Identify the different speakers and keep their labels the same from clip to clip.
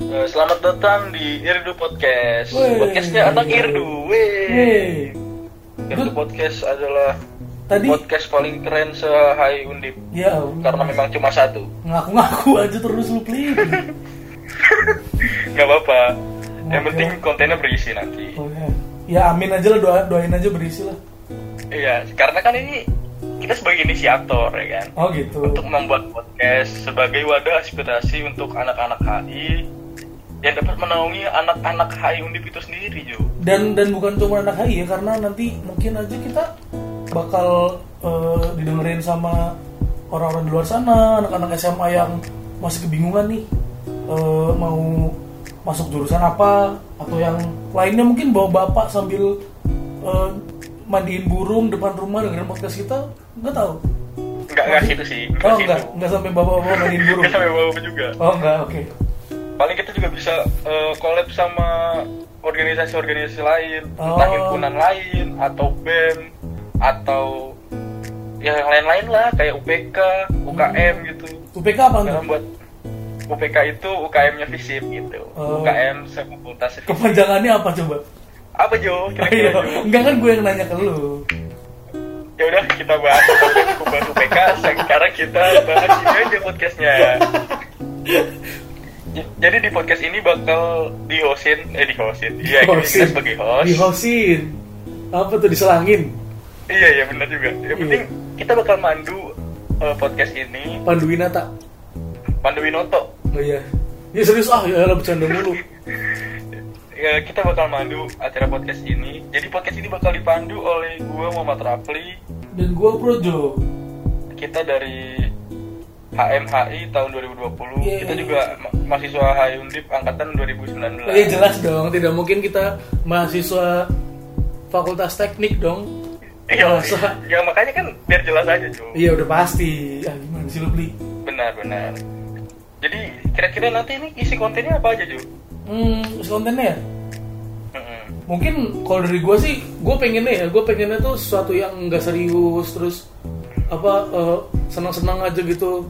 Speaker 1: Eh, Selamat datang di Irdu Podcast.
Speaker 2: Wey.
Speaker 1: Podcastnya anak Irdu. Wey.
Speaker 2: Hey,
Speaker 1: Irdu
Speaker 2: Good.
Speaker 1: Podcast adalah
Speaker 2: tadi
Speaker 1: podcast paling keren se-Hai Undip
Speaker 2: ya ampun.
Speaker 1: karena memang cuma satu.
Speaker 2: ngaku-ngaku aja terus lu pelit.
Speaker 1: Gak apa-apa. Yang
Speaker 2: Oke.
Speaker 1: penting kontennya berisi nanti.
Speaker 2: Oh, ya. ya amin aja lah doa doain aja berisi lah.
Speaker 1: Iya, karena kan ini kita sebagai inisiator ya kan.
Speaker 2: Oh gitu.
Speaker 1: Untuk membuat podcast sebagai wadah aspirasi untuk anak-anak HI yang dapat menaungi anak-anak HI Undip itu sendiri, Jo.
Speaker 2: Dan dan bukan cuma anak HI ya karena nanti mungkin aja kita bakal eh, didengerin sama orang-orang di luar sana, anak-anak SMA yang masih kebingungan nih eh, mau masuk jurusan apa atau yang lainnya mungkin bawa bapak sambil eh, mandiin burung depan rumah dengerin podcast kita nggak tahu
Speaker 1: Enggak, enggak situ gitu sih. Enggak
Speaker 2: Oh
Speaker 1: situ.
Speaker 2: enggak, enggak sampai bawa-bawa mainin burung.
Speaker 1: Enggak sampai bawa juga.
Speaker 2: Oh enggak, oke.
Speaker 1: paling kita juga bisa eh, collab sama organisasi-organisasi lain
Speaker 2: Oh.
Speaker 1: entah himpunan lain atau BEM atau ya yang lain-lain lah kayak UPK, UKM
Speaker 2: Hmm.
Speaker 1: gitu
Speaker 2: UPK apa
Speaker 1: karena
Speaker 2: tuh?
Speaker 1: buat UPK itu UKM-nya FISIP gitu
Speaker 2: Oh.
Speaker 1: UKM sefakultas FISIP
Speaker 2: Kepanjangannya apa coba?
Speaker 1: apa Jo?
Speaker 2: Ayo,
Speaker 1: kira-kira Jo?
Speaker 2: enggak kan gue yang nanya ke lu.
Speaker 1: ya udah kita bahas topik kubah UPK sekarang kita bahas ini aja podcastnya J- jadi di podcast ini bakal dihostin eh dihostin iya kita- kita sebagai host
Speaker 2: Di hostin. Apa tuh diselangin?
Speaker 1: Iya iya benar juga. Yang
Speaker 2: Iya.
Speaker 1: penting kita bakal mandu eh, podcast ini
Speaker 2: Pandu Winata.
Speaker 1: Pandu Winoto.
Speaker 2: Oh iya. Ya serius ah, ya lah bercanda mulu.
Speaker 1: Ya, kita bakal mandu acara podcast ini. Jadi podcast ini bakal dipandu oleh gua Muhammad Rafli.
Speaker 2: Dan gue Projo.
Speaker 1: Kita dari HMHI tahun 2020.
Speaker 2: Yeay.
Speaker 1: Kita juga ma- mahasiswa HI Undip angkatan 2019.
Speaker 2: Ya jelas dong, tidak mungkin kita mahasiswa fakultas teknik dong.
Speaker 1: Iya,
Speaker 2: Masa?
Speaker 1: iya. Ya, makanya kan biar jelas aja, cuy.
Speaker 2: Iya udah pasti. Ah gimana sih lu beli?
Speaker 1: Benar, benar. Jadi kira-kira nanti ini isi kontennya apa aja, cuy?
Speaker 2: Hmm, kontennya ya? mungkin kalau dari gue sih gue pengennya ya gue pengennya tuh sesuatu yang nggak serius terus apa eh, senang-senang aja gitu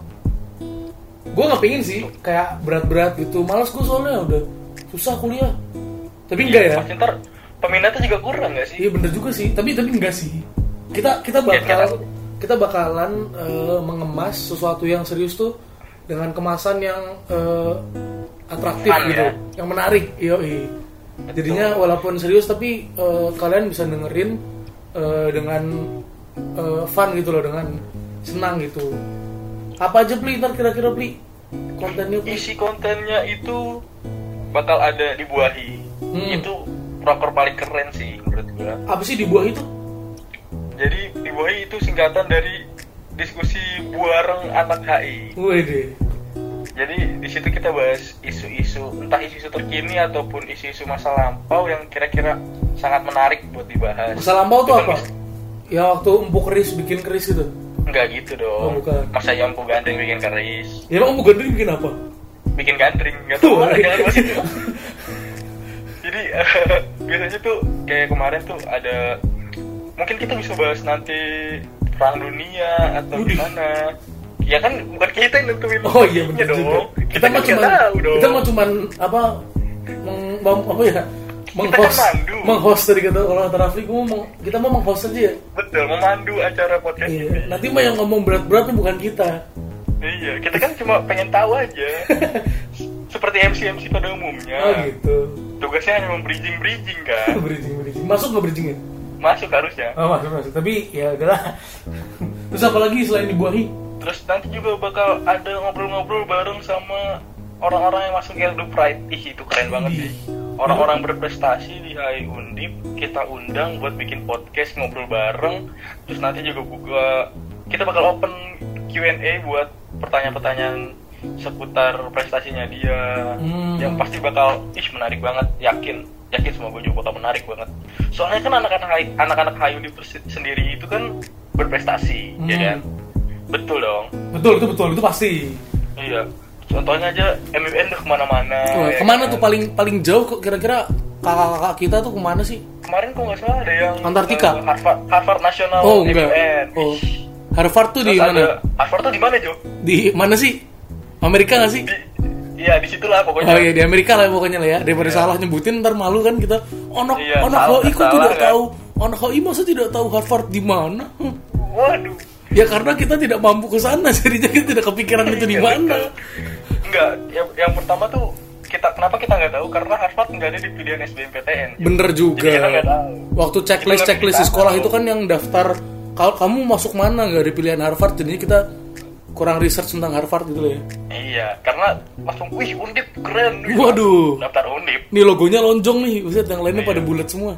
Speaker 2: gue nggak pengen sih kayak berat-berat gitu malas gue soalnya udah susah kuliah
Speaker 1: Iya,
Speaker 2: tapi enggak ya
Speaker 1: Pasti ntar peminatnya juga kurang nggak sih?
Speaker 2: iya bener juga sih tapi tapi enggak sih kita kita
Speaker 1: Iya,
Speaker 2: bakal
Speaker 1: ternyata.
Speaker 2: kita bakalan eh, mengemas sesuatu yang serius tuh dengan kemasan yang eh, atraktif
Speaker 1: Fun,
Speaker 2: gitu
Speaker 1: ya?
Speaker 2: yang menarik iya iya. jadinya walaupun serius tapi eh, kalian bisa dengerin eh, dengan eh, fun gitu loh dengan senang gitu apa aja pli ntar kira-kira pli kontennya Pli?
Speaker 1: isi kontennya itu bakal ada di Buahi.
Speaker 2: Hmm.
Speaker 1: Itu proker paling keren sih menurut gua.
Speaker 2: apa sih di buah itu
Speaker 1: Jadi di Buahi itu singkatan dari diskusi buareng anak HI.
Speaker 2: Wih deh
Speaker 1: Jadi di situ kita bahas isu-isu entah isu-isu terkini ataupun isu-isu masa lampau yang kira-kira sangat menarik buat dibahas.
Speaker 2: masa lampau tuh
Speaker 1: Cuman
Speaker 2: apa
Speaker 1: mis-
Speaker 2: ya waktu empuk keris bikin keris gitu
Speaker 1: Nggak gitu
Speaker 2: Oh,
Speaker 1: dong.
Speaker 2: bukan.
Speaker 1: Masa jampu gandeng bikin keris,
Speaker 2: Ya emang bukan bikin apa?
Speaker 1: bikin gandring nggak tahu.
Speaker 2: Tuh,
Speaker 1: Jangan bahas itu.
Speaker 2: iya.
Speaker 1: jadi biasanya tuh kayak kemarin tuh ada mungkin kita bisa bahas nanti perang dunia atau
Speaker 2: Udih.
Speaker 1: gimana ya kan bukan kita yang nentuin
Speaker 2: Oh iya bener
Speaker 1: Ya dong
Speaker 2: juga.
Speaker 1: kita, kan
Speaker 2: mau
Speaker 1: nggak tahu dong
Speaker 2: kita mau cuman apa meng, mem- apa ya? Menghost
Speaker 1: kan mandu.
Speaker 2: menghost tadi kata orang Tarafli gua mau kita mau menghost aja ya.
Speaker 1: betul memandu acara podcast
Speaker 2: Iya.
Speaker 1: ini
Speaker 2: Nanti mah yang ngomong berat-berat tuh bukan kita.
Speaker 1: iya kita kan cuma pengen tahu aja seperti MC MC pada umumnya
Speaker 2: Oh gitu.
Speaker 1: tugasnya hanya membridging bridging kan
Speaker 2: Bridging, bridging. Masuk nggak bridgingnya?
Speaker 1: masuk harusnya
Speaker 2: Oh, masuk, masuk. Tapi ya udahlah. Terus apa lagi selain dibuahi?
Speaker 1: Terus nanti juga bakal ada ngobrol-ngobrol bareng sama orang-orang yang masuk Eldo Pride. Ih, itu keren banget sih. Orang-orang berprestasi di HI Undip kita undang buat bikin podcast ngobrol bareng. Terus nanti juga buka kita bakal open Q&A buat pertanyaan-pertanyaan seputar prestasinya dia
Speaker 2: Hmm.
Speaker 1: yang pasti bakal ih menarik banget yakin yakin semua gue juga bakal menarik banget soalnya kan anak-anak HI- anak-anak HI Undip persi- sendiri itu kan berprestasi ya
Speaker 2: Hmm.
Speaker 1: kan Betul dong.
Speaker 2: Betul itu betul itu pasti.
Speaker 1: Iya. Contohnya aja MUN udah kemana-mana.
Speaker 2: Wah,
Speaker 1: ya
Speaker 2: Oh, kemana
Speaker 1: kan?
Speaker 2: tuh paling paling jauh kok kira-kira kakak-kakak kita tuh kemana sih?
Speaker 1: Kemarin kok nggak salah ada yang
Speaker 2: Antartika?
Speaker 1: eh, Harvard, Harvard National
Speaker 2: Oh enggak.
Speaker 1: MUN.
Speaker 2: Oh. Harvard tuh
Speaker 1: Terus
Speaker 2: di
Speaker 1: ada-
Speaker 2: mana?
Speaker 1: Harvard tuh di mana Jo?
Speaker 2: Di mana sih? Amerika nggak sih?
Speaker 1: Di Iya, disitulah
Speaker 2: Oh
Speaker 1: pokoknya.
Speaker 2: iya di Amerika lah pokoknya lah ya daripada salah nyebutin ntar malu kan kita anak
Speaker 1: Iya,
Speaker 2: anak
Speaker 1: salah-
Speaker 2: HI kok
Speaker 1: salah
Speaker 2: tidak
Speaker 1: kan?
Speaker 2: tahu anak HI masa tidak tahu Harvard di mana Hmm.
Speaker 1: Waduh.
Speaker 2: ya karena kita tidak mampu ke sana jadinya kita tidak kepikiran itu di
Speaker 1: Iya,
Speaker 2: mana
Speaker 1: betul. Enggak, yang, yang pertama tuh kita kenapa kita nggak tahu karena Harvard nggak ada di pilihan SBMPTN.
Speaker 2: bener juga
Speaker 1: Jadi kita Iya, nggak tahu.
Speaker 2: waktu checklist
Speaker 1: Kita nggak
Speaker 2: checklist di
Speaker 1: tahu.
Speaker 2: sekolah itu kan yang daftar kalau kamu masuk mana nggak ada pilihan Harvard jadinya kita kurang research tentang Harvard gitu lah ya
Speaker 1: Iya, karena langsung wih undip keren. Wih,
Speaker 2: Waduh.
Speaker 1: Daftar undip.
Speaker 2: ini logonya lonjong nih buset yang lainnya
Speaker 1: Iya.
Speaker 2: pada bulat semua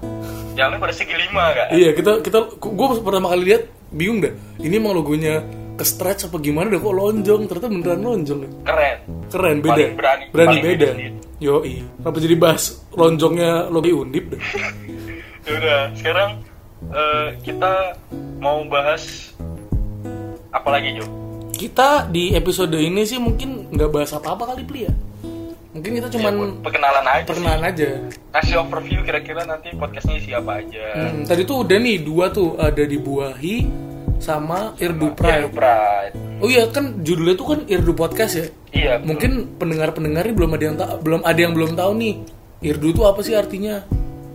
Speaker 1: Yang lain pada segi lima kan.
Speaker 2: Iya kita kita gue pertama kali lihat bingung dah. Ini emang logonya ke stretch apa gimana dah kok lonjong ternyata beneran lonjong.
Speaker 1: Keren.
Speaker 2: Keren beda.
Speaker 1: Paling berani- paling
Speaker 2: beda.
Speaker 1: beda sendiri.
Speaker 2: Yo Kenapa jadi bahas lonjongnya logo undip dah?
Speaker 1: Ya udah, sekarang eh, kita mau bahas apa lagi, Jo?
Speaker 2: Kita di episode ini sih mungkin nggak bahas apa-apa kali Pli ya. Mungkin kita
Speaker 1: Ya, buat
Speaker 2: cuman
Speaker 1: perkenalan aja. sih.
Speaker 2: perkenalan aja.
Speaker 1: Kasih overview kira-kira nanti podcastnya siapa aja.
Speaker 2: Hmm, tadi tuh udah nih dua tuh ada di Buahi sama
Speaker 1: Iya,
Speaker 2: Irdu Hmm, Pride.
Speaker 1: Pride.
Speaker 2: Oh iya kan judulnya tuh kan Irdu Podcast ya.
Speaker 1: Iya, betul.
Speaker 2: mungkin pendengar-pendengar ini belum ada yang ta- belum ada yang belum tahu nih irdu itu apa sih artinya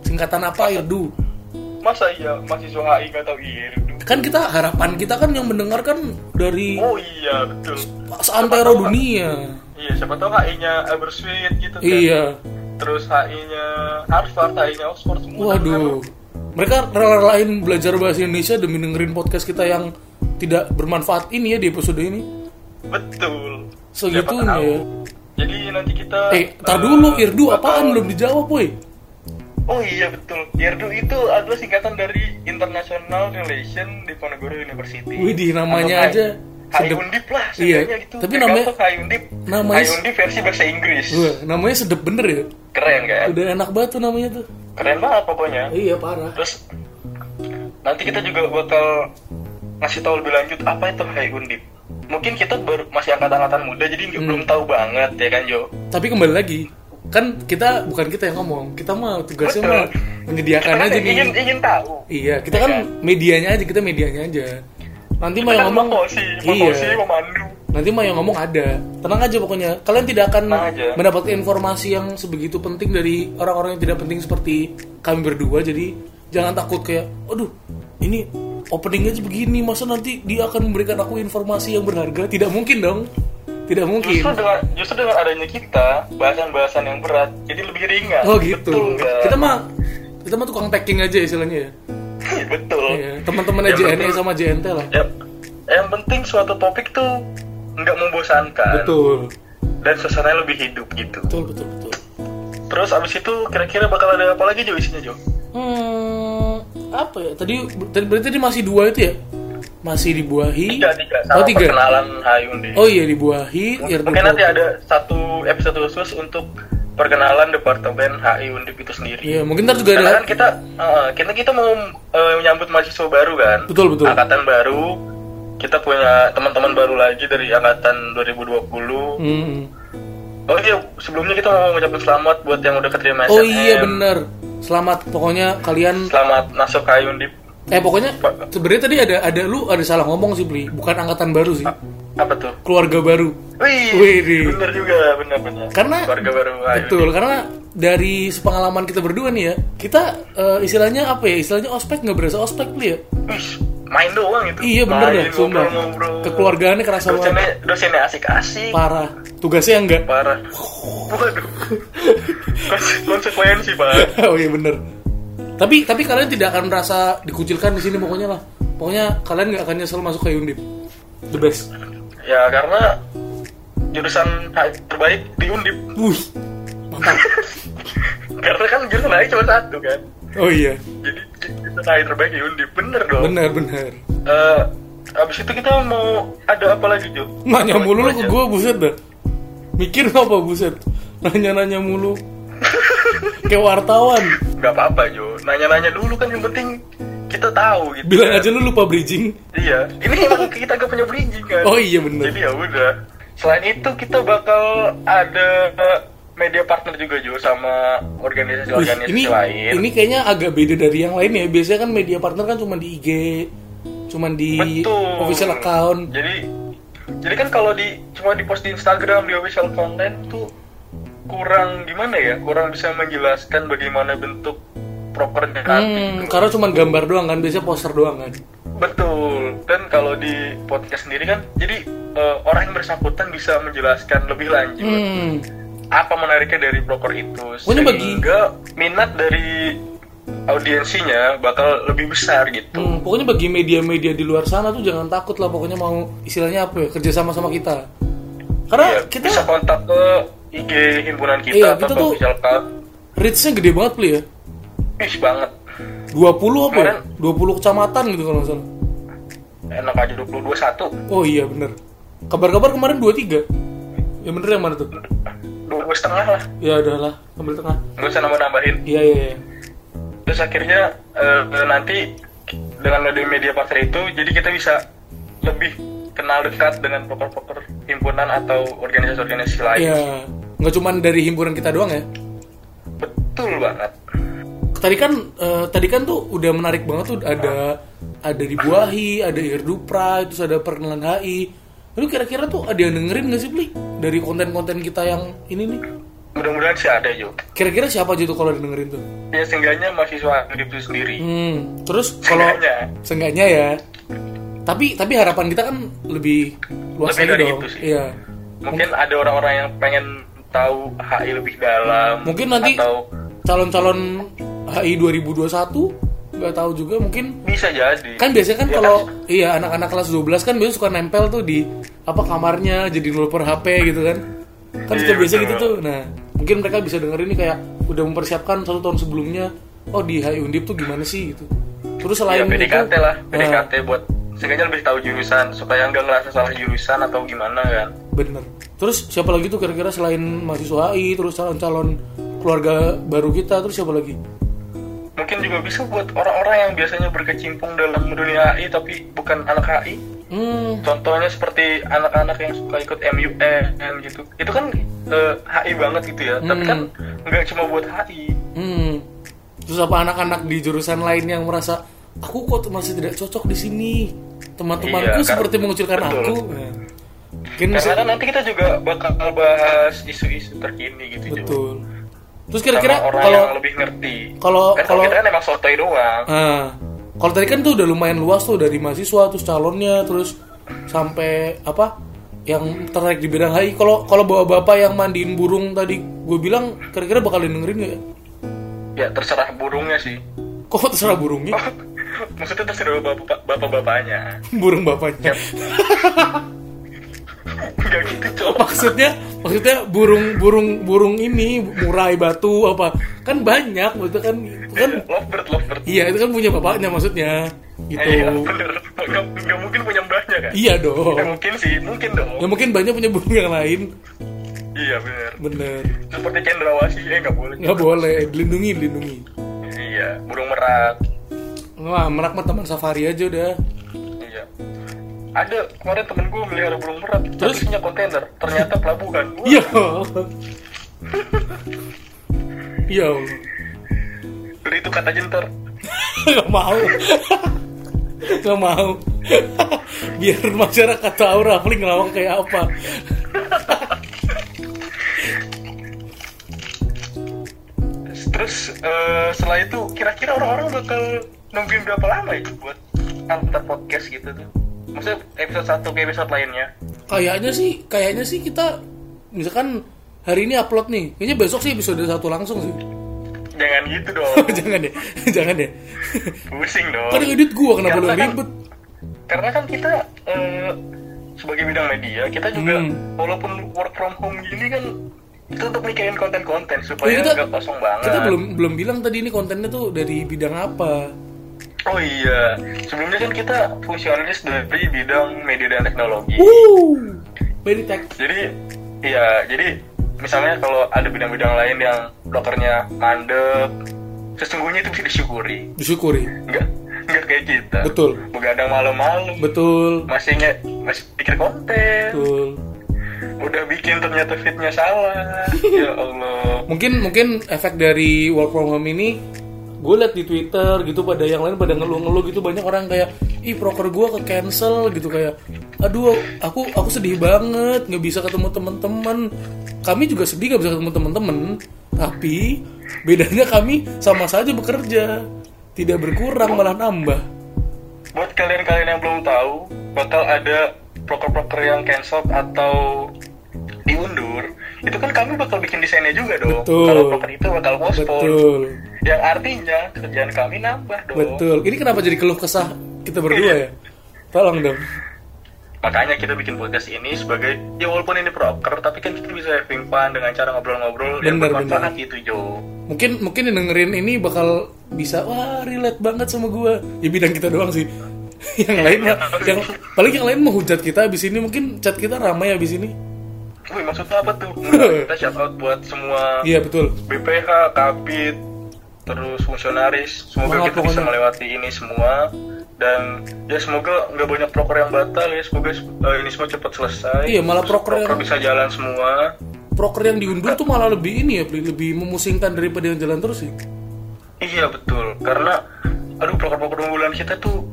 Speaker 2: singkatan apa irdu
Speaker 1: Masa iya mahasiswa HI nggak tahu IRDU?
Speaker 2: kan kita harapan kita kan yang mendengarkan dari
Speaker 1: Oh iya, betul.
Speaker 2: seantero dunia
Speaker 1: Iya, siapa tahu HI-nya Abersuit gitu kan.
Speaker 2: iya
Speaker 1: Terus HI-nya Harvard, HI-nya Oxford semua.
Speaker 2: waduh mereka rela-relain belajar bahasa Indonesia demi dengerin podcast kita yang tidak bermanfaat ini ya di episode ini
Speaker 1: Betul.
Speaker 2: Segitunya
Speaker 1: Siapa tahu.
Speaker 2: ya.
Speaker 1: Jadi nanti kita
Speaker 2: eh tar
Speaker 1: eh,
Speaker 2: dulu irdu
Speaker 1: bakal-
Speaker 2: apaan belum dijawab woi
Speaker 1: Oh iya betul. IRDU itu adalah singkatan dari International Relation Diponegoro University.
Speaker 2: Widih, namanya aja
Speaker 1: HI
Speaker 2: sedep.
Speaker 1: Undip lah,
Speaker 2: Iya,
Speaker 1: seenggaknya gitu.
Speaker 2: tapi
Speaker 1: Kayak
Speaker 2: namanya-
Speaker 1: gampang HI Undip.
Speaker 2: namanya-
Speaker 1: HI Undip versi bahasa Inggris.
Speaker 2: Wah, namanya sedep bener ya
Speaker 1: Keren kan?
Speaker 2: udah enak banget tuh namanya tuh
Speaker 1: Keren banget pokoknya.
Speaker 2: iya parah
Speaker 1: Terus nanti kita juga bakal ngasih tahu lebih lanjut apa itu HI Undip. Mungkin kita baru masih angkatan-angkatan muda jadi
Speaker 2: Hmm.
Speaker 1: nggak- belum tahu banget ya kan Jo.
Speaker 2: Tapi kembali lagi, kan kita bukan kita yang ngomong, kita mah tugasnya
Speaker 1: Betul.
Speaker 2: mah menyediakan
Speaker 1: Kita kan
Speaker 2: aja nih.
Speaker 1: ingin ingin tahu.
Speaker 2: Iya, kita kan medianya aja, kita medianya aja. Nanti mah
Speaker 1: Kita
Speaker 2: yang
Speaker 1: kan
Speaker 2: ngomong,
Speaker 1: memosi, memosi,
Speaker 2: iya.
Speaker 1: memandu.
Speaker 2: Nanti mah yang ngomong ada. Tenang aja pokoknya. Kalian tidak akan
Speaker 1: Tenang aja.
Speaker 2: mendapatkan informasi yang sebegitu penting dari orang-orang yang tidak penting seperti kami berdua. Jadi jangan takut kayak, aduh, ini opening aja begini, masa nanti dia akan memberikan aku informasi yang berharga? Tidak mungkin dong. Tidak mungkin.
Speaker 1: Justru dengan justru dengan adanya kita bahasan-bahasan yang berat jadi lebih ringan.
Speaker 2: Oh gitu.
Speaker 1: Betul nggak?
Speaker 2: Kita mah kita mah tukang packing aja istilahnya ya.
Speaker 1: betul.
Speaker 2: Iya, teman-temannya
Speaker 1: Yang
Speaker 2: JNE
Speaker 1: penting-
Speaker 2: sama JNT lah.
Speaker 1: Yap. Yang penting suatu topik tuh nggak membosankan
Speaker 2: Betul.
Speaker 1: dan suasananya lebih hidup gitu.
Speaker 2: Betul, betul, betul.
Speaker 1: Terus abis itu kira-kira bakal ada apa lagi Jo isinya Jo?
Speaker 2: Hmm, apa ya? Tadi tadi berarti tadi masih dua itu ya? Masih dibuahi.
Speaker 1: Tiga tiga sama
Speaker 2: oh, tiga.
Speaker 1: perkenalan Hayundi.
Speaker 2: Oh iya dibuahi, Irdu
Speaker 1: Mungkin nanti ya.
Speaker 2: Pro-
Speaker 1: ada satu episode khusus untuk perkenalan departemen HI Undip itu sendiri.
Speaker 2: Iya, mungkin ntar juga ada.
Speaker 1: Karena kan kita eh, kita kita mau eh, menyambut mahasiswa baru kan.
Speaker 2: Betul, betul.
Speaker 1: Angkatan baru. Kita punya teman-teman baru lagi dari angkatan 2020.
Speaker 2: Hmm.
Speaker 1: Oh iya, sebelumnya kita mau mengucapkan selamat buat yang udah keterima SNM.
Speaker 2: Oh iya benar. Selamat pokoknya kalian
Speaker 1: Selamat masuk ke Undip.
Speaker 2: eh pokoknya sebenarnya tadi ada ada lu ada salah ngomong sih, Bli. Bukan angkatan baru sih.
Speaker 1: Apa tuh?
Speaker 2: Keluarga baru.
Speaker 1: Wih,
Speaker 2: Widih.
Speaker 1: bener juga, bener-bener.
Speaker 2: Karena-
Speaker 1: keluarga baru HI Undip.
Speaker 2: Betul, karena dari sepengalaman kita berdua nih ya, kita eh, istilahnya apa ya? Istilahnya ospek nggak berasa ospek Li, ya?
Speaker 1: Wih, main doang itu.
Speaker 2: Iya bener
Speaker 1: Main,
Speaker 2: deh, sumpah.
Speaker 1: ngobrol-ngobrol.
Speaker 2: Kekeluargaannya kerasa banget.
Speaker 1: Dosennya, dosennya asik-asik.
Speaker 2: Parah. Tugasnya enggak.
Speaker 1: Parah. Waduh. Konse- Konsekuensi, Pak.
Speaker 2: oh iya bener. Tapi tapi kalian tidak akan merasa dikucilkan di sini pokoknya lah. Pokoknya kalian nggak akan nyesel masuk ke Undip. The best.
Speaker 1: Ya karena jurusan HI terbaik di Undip.
Speaker 2: Wih. Mantap.
Speaker 1: Karena kan jurusan HI cuma satu kan.
Speaker 2: Oh iya.
Speaker 1: Jadi jurusan HI terbaik di Undip. Bener dong.
Speaker 2: Bener bener.
Speaker 1: Eh, abis itu kita mau ada apa lagi, Jo?
Speaker 2: Nanya mulu lu ke
Speaker 1: Aja.
Speaker 2: gue buset dah. Mikir apa buset? Nanya-nanya mulu. Kayak wartawan.
Speaker 1: Gak apa-apa, Jo. Nanya-nanya dulu kan yang penting kita tahu gitu.
Speaker 2: Bilang
Speaker 1: kan.
Speaker 2: aja lu lupa bridging.
Speaker 1: Iya. Ini emang kita gak punya bridging kan.
Speaker 2: Oh iya bener.
Speaker 1: Jadi ya udah. Selain itu kita bakal ada eh, media partner juga Jo sama
Speaker 2: Wih,
Speaker 1: organisasi-organisasi
Speaker 2: ini
Speaker 1: lain.
Speaker 2: ini kayaknya agak beda dari yang lain ya. Biasanya kan media partner kan cuma di IG, cuma di
Speaker 1: Betul.
Speaker 2: official account.
Speaker 1: Jadi jadi kan kalau di cuma di post di Instagram di official account lain tuh kurang gimana ya kurang bisa menjelaskan bagaimana bentuk propernya nanti gitu.
Speaker 2: Hmm, karena cuma gambar doang kan, biasanya poster doang kan.
Speaker 1: betul dan kalau di podcast sendiri kan jadi eh, orang yang bersangkutan bisa menjelaskan lebih lanjut
Speaker 2: Hmm.
Speaker 1: apa menariknya dari broker itu
Speaker 2: Oh, ini bagi-
Speaker 1: sehingga minat dari audiensinya bakal lebih besar gitu
Speaker 2: Hmm, pokoknya bagi media-media di luar sana tuh jangan takut lah pokoknya mau istilahnya apa ya kerja sama sama kita karena
Speaker 1: Iya,
Speaker 2: kita
Speaker 1: bisa kontak ke IG himpunan kita
Speaker 2: Iya,
Speaker 1: atau
Speaker 2: kita
Speaker 1: ke
Speaker 2: tuh-
Speaker 1: official account.
Speaker 2: reach-nya gede banget pli ya
Speaker 1: Ih, banget
Speaker 2: 20 apa ya?
Speaker 1: Kemarin-
Speaker 2: 20 kecamatan gitu kalau nggak salah
Speaker 1: enak aja 2021
Speaker 2: oh iya bener kabar-kabar kemarin 23 ya bener yang mana tuh
Speaker 1: dua dua setengah lah
Speaker 2: ya udahlah ambil tengah
Speaker 1: nggak usah nambah nambahin
Speaker 2: iya iya iya
Speaker 1: terus akhirnya eh, nanti dengan media media partner itu jadi kita bisa lebih kenal dekat dengan poker-poker himpunan atau organisasi-organisasi lain
Speaker 2: Iya. nggak cuman dari himpunan kita doang ya
Speaker 1: betul banget
Speaker 2: tadi kan eh, tadi kan tuh udah menarik banget tuh ada ada di Buahi, ada Irdupra, terus ada perkenalan HI. Lalu kira-kira tuh ada yang dengerin nggak sih Pli dari konten-konten kita yang ini nih?
Speaker 1: mudah-mudahan sih ada juga
Speaker 2: Kira-kira siapa aja tuh kalau yang dengerin tuh?
Speaker 1: ya seenggaknya mahasiswa Agrib itu sendiri
Speaker 2: Hmm, terus kalau
Speaker 1: Seenggaknya.
Speaker 2: seenggaknya ya. Tapi tapi harapan kita kan lebih luas
Speaker 1: Lebih
Speaker 2: lagi
Speaker 1: dari
Speaker 2: dong.
Speaker 1: itu sih.
Speaker 2: Iya.
Speaker 1: mungkin ada orang-orang yang pengen tahu HI lebih dalam
Speaker 2: Mungkin nanti
Speaker 1: atau
Speaker 2: calon-calon HI 2021 nggak tahu juga mungkin
Speaker 1: bisa jadi
Speaker 2: kan biasanya kan
Speaker 1: Ya
Speaker 2: kalau iya anak-anak kelas 12 kan biasanya suka nempel tuh di apa kamarnya jadi nulper HP gitu kan kan suka
Speaker 1: Iya,
Speaker 2: biasa
Speaker 1: betul.
Speaker 2: gitu tuh nah mungkin mereka bisa dengerin nih kayak udah mempersiapkan satu tahun sebelumnya oh di HI Undip tuh gimana sih gitu terus
Speaker 1: ya
Speaker 2: selain
Speaker 1: PDKT
Speaker 2: itu,
Speaker 1: lah
Speaker 2: nah,
Speaker 1: PDKT buat seenggaknya lebih tahu jurusan supaya nggak ngerasa salah jurusan atau gimana kan
Speaker 2: bener terus siapa lagi tuh kira-kira selain mahasiswa HI terus calon-calon keluarga baru kita terus siapa lagi
Speaker 1: mungkin juga bisa buat orang-orang yang biasanya berkecimpung dalam dunia HI tapi bukan anak HI
Speaker 2: hmm
Speaker 1: contohnya seperti anak-anak yang suka ikut MUN gitu itu kan eh, HI banget gitu ya tapi
Speaker 2: Hmm.
Speaker 1: kan nggak cuma buat HI
Speaker 2: Hmm. Terus apa anak-anak di jurusan lain yang merasa aku kok masih tidak cocok di sini? Teman-temanku
Speaker 1: Iya, kar-
Speaker 2: seperti mengucilkan
Speaker 1: betul.
Speaker 2: aku. Nah, Mungkin
Speaker 1: karena
Speaker 2: bisa-
Speaker 1: kan nanti kita juga bakal bahas isu-isu terkini gitu Jo.
Speaker 2: betul. Terus
Speaker 1: Sama
Speaker 2: kira-kira
Speaker 1: orang
Speaker 2: kalau
Speaker 1: yang lebih ngerti
Speaker 2: kalau-
Speaker 1: kan kalau
Speaker 2: kalau-
Speaker 1: kita kan emang sotoy doang
Speaker 2: ah, kalau tadi kan tuh udah lumayan luas tuh dari mahasiswa terus calonnya terus sampai apa yang tertarik di bidang HI. Kalau kalau bapak-bapak yang mandiin burung tadi gue bilang kira-kira bakal dengerin gak? ya?
Speaker 1: ya terserah burungnya sih
Speaker 2: Kok terserah burungnya?
Speaker 1: maksudnya terserah bapak- bapak-bapaknya
Speaker 2: Burung
Speaker 1: Ya,
Speaker 2: bapaknya.
Speaker 1: nggak gitu coba
Speaker 2: maksudnya maksudnya burung burung burung ini murai batu apa kan banyak maksudnya kan kan
Speaker 1: lovebird lovebird
Speaker 2: iya itu kan punya bapaknya maksudnya
Speaker 1: Iya
Speaker 2: gitu
Speaker 1: bener nggak, nggak mungkin punya mbahnya kan
Speaker 2: iya
Speaker 1: Ya,
Speaker 2: dong
Speaker 1: mungkin sih mungkin
Speaker 2: ya
Speaker 1: dong
Speaker 2: mungkin banyak punya burung yang lain
Speaker 1: iya bener
Speaker 2: bener
Speaker 1: seperti cendrawasih ya nggak boleh
Speaker 2: nggak boleh dilindungi dilindungi
Speaker 1: iya burung merak
Speaker 2: wah merak mah taman safari aja udah
Speaker 1: iya ada kemarin temen gue melihara burung merak terus
Speaker 2: Terus?
Speaker 1: isinya kontainer ternyata pelabuhan Wah,
Speaker 2: iya iya Allah.
Speaker 1: beli itu kata jenter
Speaker 2: nggak mau nggak mau biar masyarakat tahu Rafli ngelawak kayak apa
Speaker 1: terus eh, setelah itu kira-kira orang-orang bakal nungguin berapa lama itu buat antar podcast gitu tuh maksudnya episode satu ke episode lainnya
Speaker 2: kayaknya sih kayaknya sih kita misalkan hari ini upload nih kayaknya besok sih episode satu langsung sih Oh,
Speaker 1: jangan gitu dong
Speaker 2: jangan deh jangan deh
Speaker 1: pusing dong
Speaker 2: kan yang edit gua
Speaker 1: Karena
Speaker 2: kenapa lu yang
Speaker 1: Iya. kan-
Speaker 2: ribet
Speaker 1: karena kan kita eh, sebagai bidang media kita juga
Speaker 2: Hmm.
Speaker 1: walaupun work from home gini kan kita tetap mikirin konten-konten supaya
Speaker 2: Iya, kita-
Speaker 1: nggak kosong banget
Speaker 2: kita belum belum bilang tadi ini kontennya tuh dari bidang apa
Speaker 1: oh iya sebelumnya kan kita fungsionalis dari bidang media dan teknologi
Speaker 2: uh Meditek
Speaker 1: jadi iya jadi misalnya kalau ada bidang-bidang lain yang brokernya mandek sesungguhnya itu bisa disyukuri
Speaker 2: disyukuri
Speaker 1: nggak nggak kayak kita
Speaker 2: Betul.
Speaker 1: begadang malam-malam
Speaker 2: betul
Speaker 1: masih nge- masih pikir konten
Speaker 2: betul
Speaker 1: udah bikin ternyata fitnya salah ya Allah
Speaker 2: mungkin mungkin efek dari work from home ini gue liat di Twitter gitu pada yang lain pada ngeluh-ngeluh gitu banyak orang kayak ih proker gue ke cancel gitu kayak aduh aku aku sedih banget nggak bisa ketemu temen-temen kami juga sedih nggak bisa ketemu temen-temen tapi bedanya kami sama saja bekerja tidak berkurang malah nambah
Speaker 1: buat kalian-kalian yang belum tahu bakal ada proker-proker yang cancel atau diundur itu kan kami bakal bikin desainnya juga dong
Speaker 2: Betul.
Speaker 1: kalau proker itu bakal postpone
Speaker 2: betul
Speaker 1: yang artinya kerjaan kami nambah dong
Speaker 2: betul ini kenapa jadi keluh kesah kita berdua ya tolong dong
Speaker 1: makanya kita bikin podcast ini sebagai ya walaupun ini proker tapi kan kita bisa having fun dengan cara ngobrol-ngobrol yang
Speaker 2: Benar,
Speaker 1: bermanfaat gitu Jo
Speaker 2: mungkin mungkin yang dengerin ini bakal bisa wah relate banget sama gua ya bidang kita doang sih yang lain mah- yang paling yang lain menghujat kita abis ini mungkin chat kita ramai abis ini
Speaker 1: Wih maksudnya apa tuh? Nah, kita shout out buat semua
Speaker 2: iya betul
Speaker 1: BPH, Kapit, terus fungsionaris. Semoga
Speaker 2: Semangat
Speaker 1: kita bisa
Speaker 2: pokoknya.
Speaker 1: melewati ini semua dan ya semoga nggak banyak proker yang batal ya. Semoga eh, ini semua cepat selesai.
Speaker 2: Iya, malah
Speaker 1: Terus
Speaker 2: proker yang-
Speaker 1: bisa jalan semua.
Speaker 2: proker yang diundur tuh malah lebih ini ya Pli, lebih memusingkan daripada yang jalan terus sih
Speaker 1: Iya betul. Karena aduh proker-proker unggulan kita tuh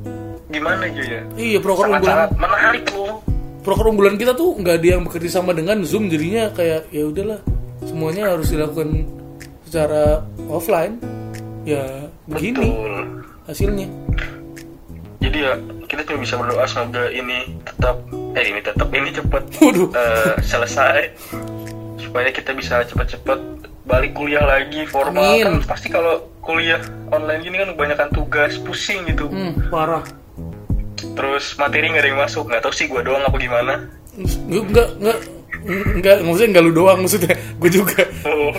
Speaker 1: gimana aja ya?
Speaker 2: iya proker unggulan
Speaker 1: Sangat-sangat menarik loh.
Speaker 2: proker unggulan kita tuh nggak ada yang bekerja sama dengan zoom jadinya kayak ya udahlah semuanya harus dilakukan secara offline ya begini
Speaker 1: Betul.
Speaker 2: hasilnya
Speaker 1: Jadi ya kita cuma bisa berdoa semoga ini tetap eh ini tetap ini cepat
Speaker 2: waduh
Speaker 1: eh, selesai supaya kita bisa cepat-cepat balik kuliah lagi formal
Speaker 2: Amin.
Speaker 1: kan pasti kalau kuliah online gini kan kebanyakan tugas pusing gitu
Speaker 2: hmm, parah
Speaker 1: terus materi nggak ada yang masuk nggak tahu sih gua doang apa gimana
Speaker 2: Gue enggak enggak enggak maksudnya enggak lu doang maksudnya gue juga
Speaker 1: oh,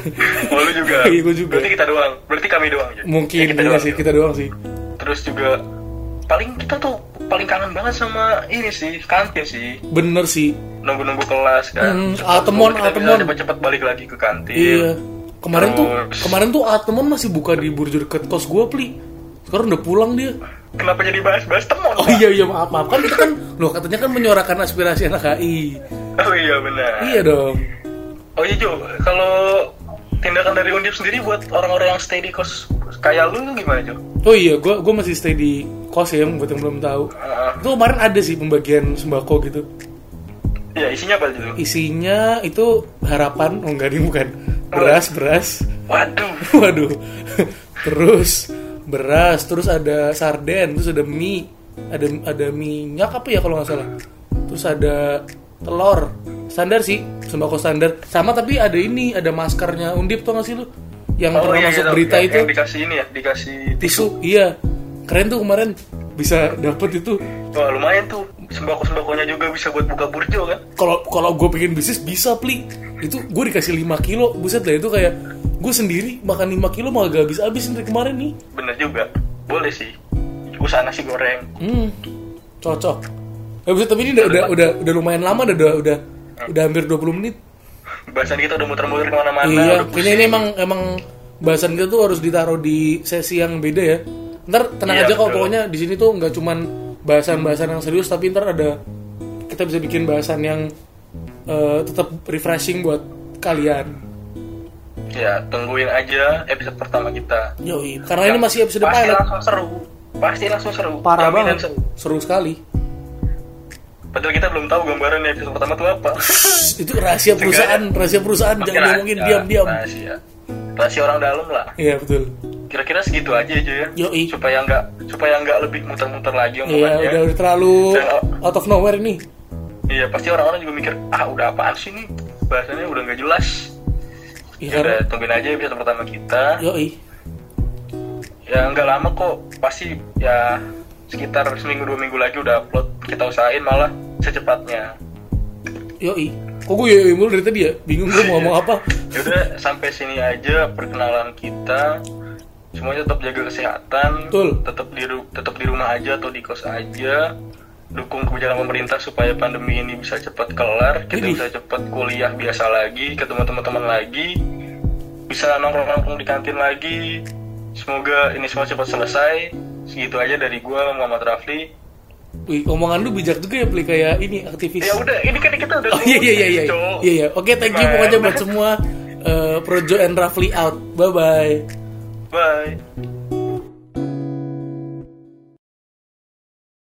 Speaker 1: oh, lu juga
Speaker 2: Iya, gua juga.
Speaker 1: berarti kita doang berarti kami doang ya? Ya,
Speaker 2: mungkin
Speaker 1: kita
Speaker 2: iya
Speaker 1: doang
Speaker 2: sih
Speaker 1: ya.
Speaker 2: kita doang sih
Speaker 1: terus juga paling kita tuh paling kangen banget sama ini sih kantin sih
Speaker 2: bener sih
Speaker 1: nunggu-nunggu kelas
Speaker 2: Hmm,
Speaker 1: kan
Speaker 2: Altemon,
Speaker 1: Semoga kita bisa
Speaker 2: Altemon.
Speaker 1: cepat-cepat balik lagi ke kantin
Speaker 2: iya kemarin tuh
Speaker 1: Terus.
Speaker 2: kemarin tuh Atman masih buka di burjur deket kos gue pli sekarang udah pulang dia
Speaker 1: kenapa jadi bahas-bahas temon
Speaker 2: oh
Speaker 1: Pak?
Speaker 2: iya iya maaf maaf kan kita kan loh katanya kan menyuarakan aspirasi anak HI
Speaker 1: oh iya benar
Speaker 2: iya dong
Speaker 1: Oh iya Jo, kalau tindakan dari Undip sendiri buat orang-orang yang stay di kos kayak lu tuh gimana Jo?
Speaker 2: oh iya gue gue masih stay di kos ya buat yang belum tahu
Speaker 1: Heeh.
Speaker 2: itu kemarin ada sih pembagian sembako gitu
Speaker 1: ya isinya apa Jo?
Speaker 2: isinya itu harapan oh enggak nih bukan beras beras
Speaker 1: Waduh,
Speaker 2: Waduh. Terus beras, terus ada sarden, terus ada mie, ada ada minyak apa ya kalau nggak salah. Terus ada telur. Standar sih, sembako standar. Sama tapi ada ini, ada maskernya Undip tuh nggak sih lu? Yang
Speaker 1: Oh,
Speaker 2: pernah masuk
Speaker 1: tau.
Speaker 2: berita
Speaker 1: Yang-
Speaker 2: itu
Speaker 1: yang dikasih ini ya, dikasih
Speaker 2: tisu. Iya. Keren tuh kemarin bisa dapet itu.
Speaker 1: Wah lumayan tuh, sembako-sembakonya juga bisa buat buka burjo kan?
Speaker 2: Kalau kalau gue pengen bisnis bisa pli. Itu gue dikasih 5 kilo, buset lah itu kayak gue sendiri makan 5 kilo malah gak habis-habis dari kemarin nih.
Speaker 1: Bener juga, boleh sih usaha nasi goreng
Speaker 2: Hmm, cocok. Eh, buset, tapi ini udah, udah udah udah lumayan lama udah udah udah, udah hampir 20 menit.
Speaker 1: Bahasan kita udah muter-muter kemana-mana
Speaker 2: iya,
Speaker 1: udah
Speaker 2: ini ini emang emang bahasan kita tuh harus ditaruh di sesi yang beda ya. Ntar tenang
Speaker 1: Iya,
Speaker 2: aja kok
Speaker 1: betul.
Speaker 2: pokoknya di sini tuh nggak cuman bahasan-bahasan yang serius tapi ntar ada kita bisa bikin bahasan yang eh, tetap refreshing buat kalian.
Speaker 1: Ya tungguin aja episode pertama kita
Speaker 2: Yoi, karena Nah, ini masih episode
Speaker 1: Pasti
Speaker 2: pilot.
Speaker 1: langsung seru Pasti langsung seru
Speaker 2: Parah
Speaker 1: Jaminan
Speaker 2: banget.
Speaker 1: seru.
Speaker 2: Seru sekali.
Speaker 1: Padahal kita belum tahu gambaran episode pertama itu apa
Speaker 2: Shh, Itu rahasia perusahaan, rahasia perusahaan jangan
Speaker 1: Rahasia,
Speaker 2: ngomongin diam-diam.
Speaker 1: eh, rahasia rahasia orang dalam lah
Speaker 2: Iya, betul.
Speaker 1: kira-kira segitu aja aja ya
Speaker 2: Yoi.
Speaker 1: supaya nggak supaya nggak lebih muter-muter lagi
Speaker 2: Iya,
Speaker 1: omongannya
Speaker 2: udah, udah terlalu
Speaker 1: Saya-
Speaker 2: out of nowhere ini.
Speaker 1: iya pasti orang-orang juga mikir ah udah apaan sih ini bahasanya udah nggak jelas ya
Speaker 2: Iya,
Speaker 1: udah
Speaker 2: karena-
Speaker 1: tungguin aja episode pertama kita
Speaker 2: yoi.
Speaker 1: ya nggak lama kok pasti ya sekitar seminggu dua minggu lagi udah upload kita usahain malah secepatnya
Speaker 2: Yoi. Kok gue yoi mulu dari tadi ya? Bingung gue mau ngomong apa?
Speaker 1: ya udah sampai sini aja perkenalan kita semuanya tetap jaga kesehatan
Speaker 2: Betul.
Speaker 1: tetap di ru- tetap di rumah aja atau di kos aja dukung kebijakan pemerintah supaya pandemi ini bisa cepat kelar kita
Speaker 2: Ini.
Speaker 1: bisa cepat kuliah biasa lagi ketemu teman-teman lagi bisa nongkrong-nongkrong di kantin lagi semoga ini semua cepat selesai segitu aja dari gua Muhammad Rafli
Speaker 2: Wih, omongan lu bijak juga ya, beli kayak ini aktivis.
Speaker 1: ya udah gitu. ini kan kita udah
Speaker 2: Oh iya iya iya iya.
Speaker 1: Cok.
Speaker 2: Iya iya. Oke, thank you
Speaker 1: Bye.
Speaker 2: pokoknya buat semua eh, Projo and Rafli out. Bye bye.
Speaker 1: bye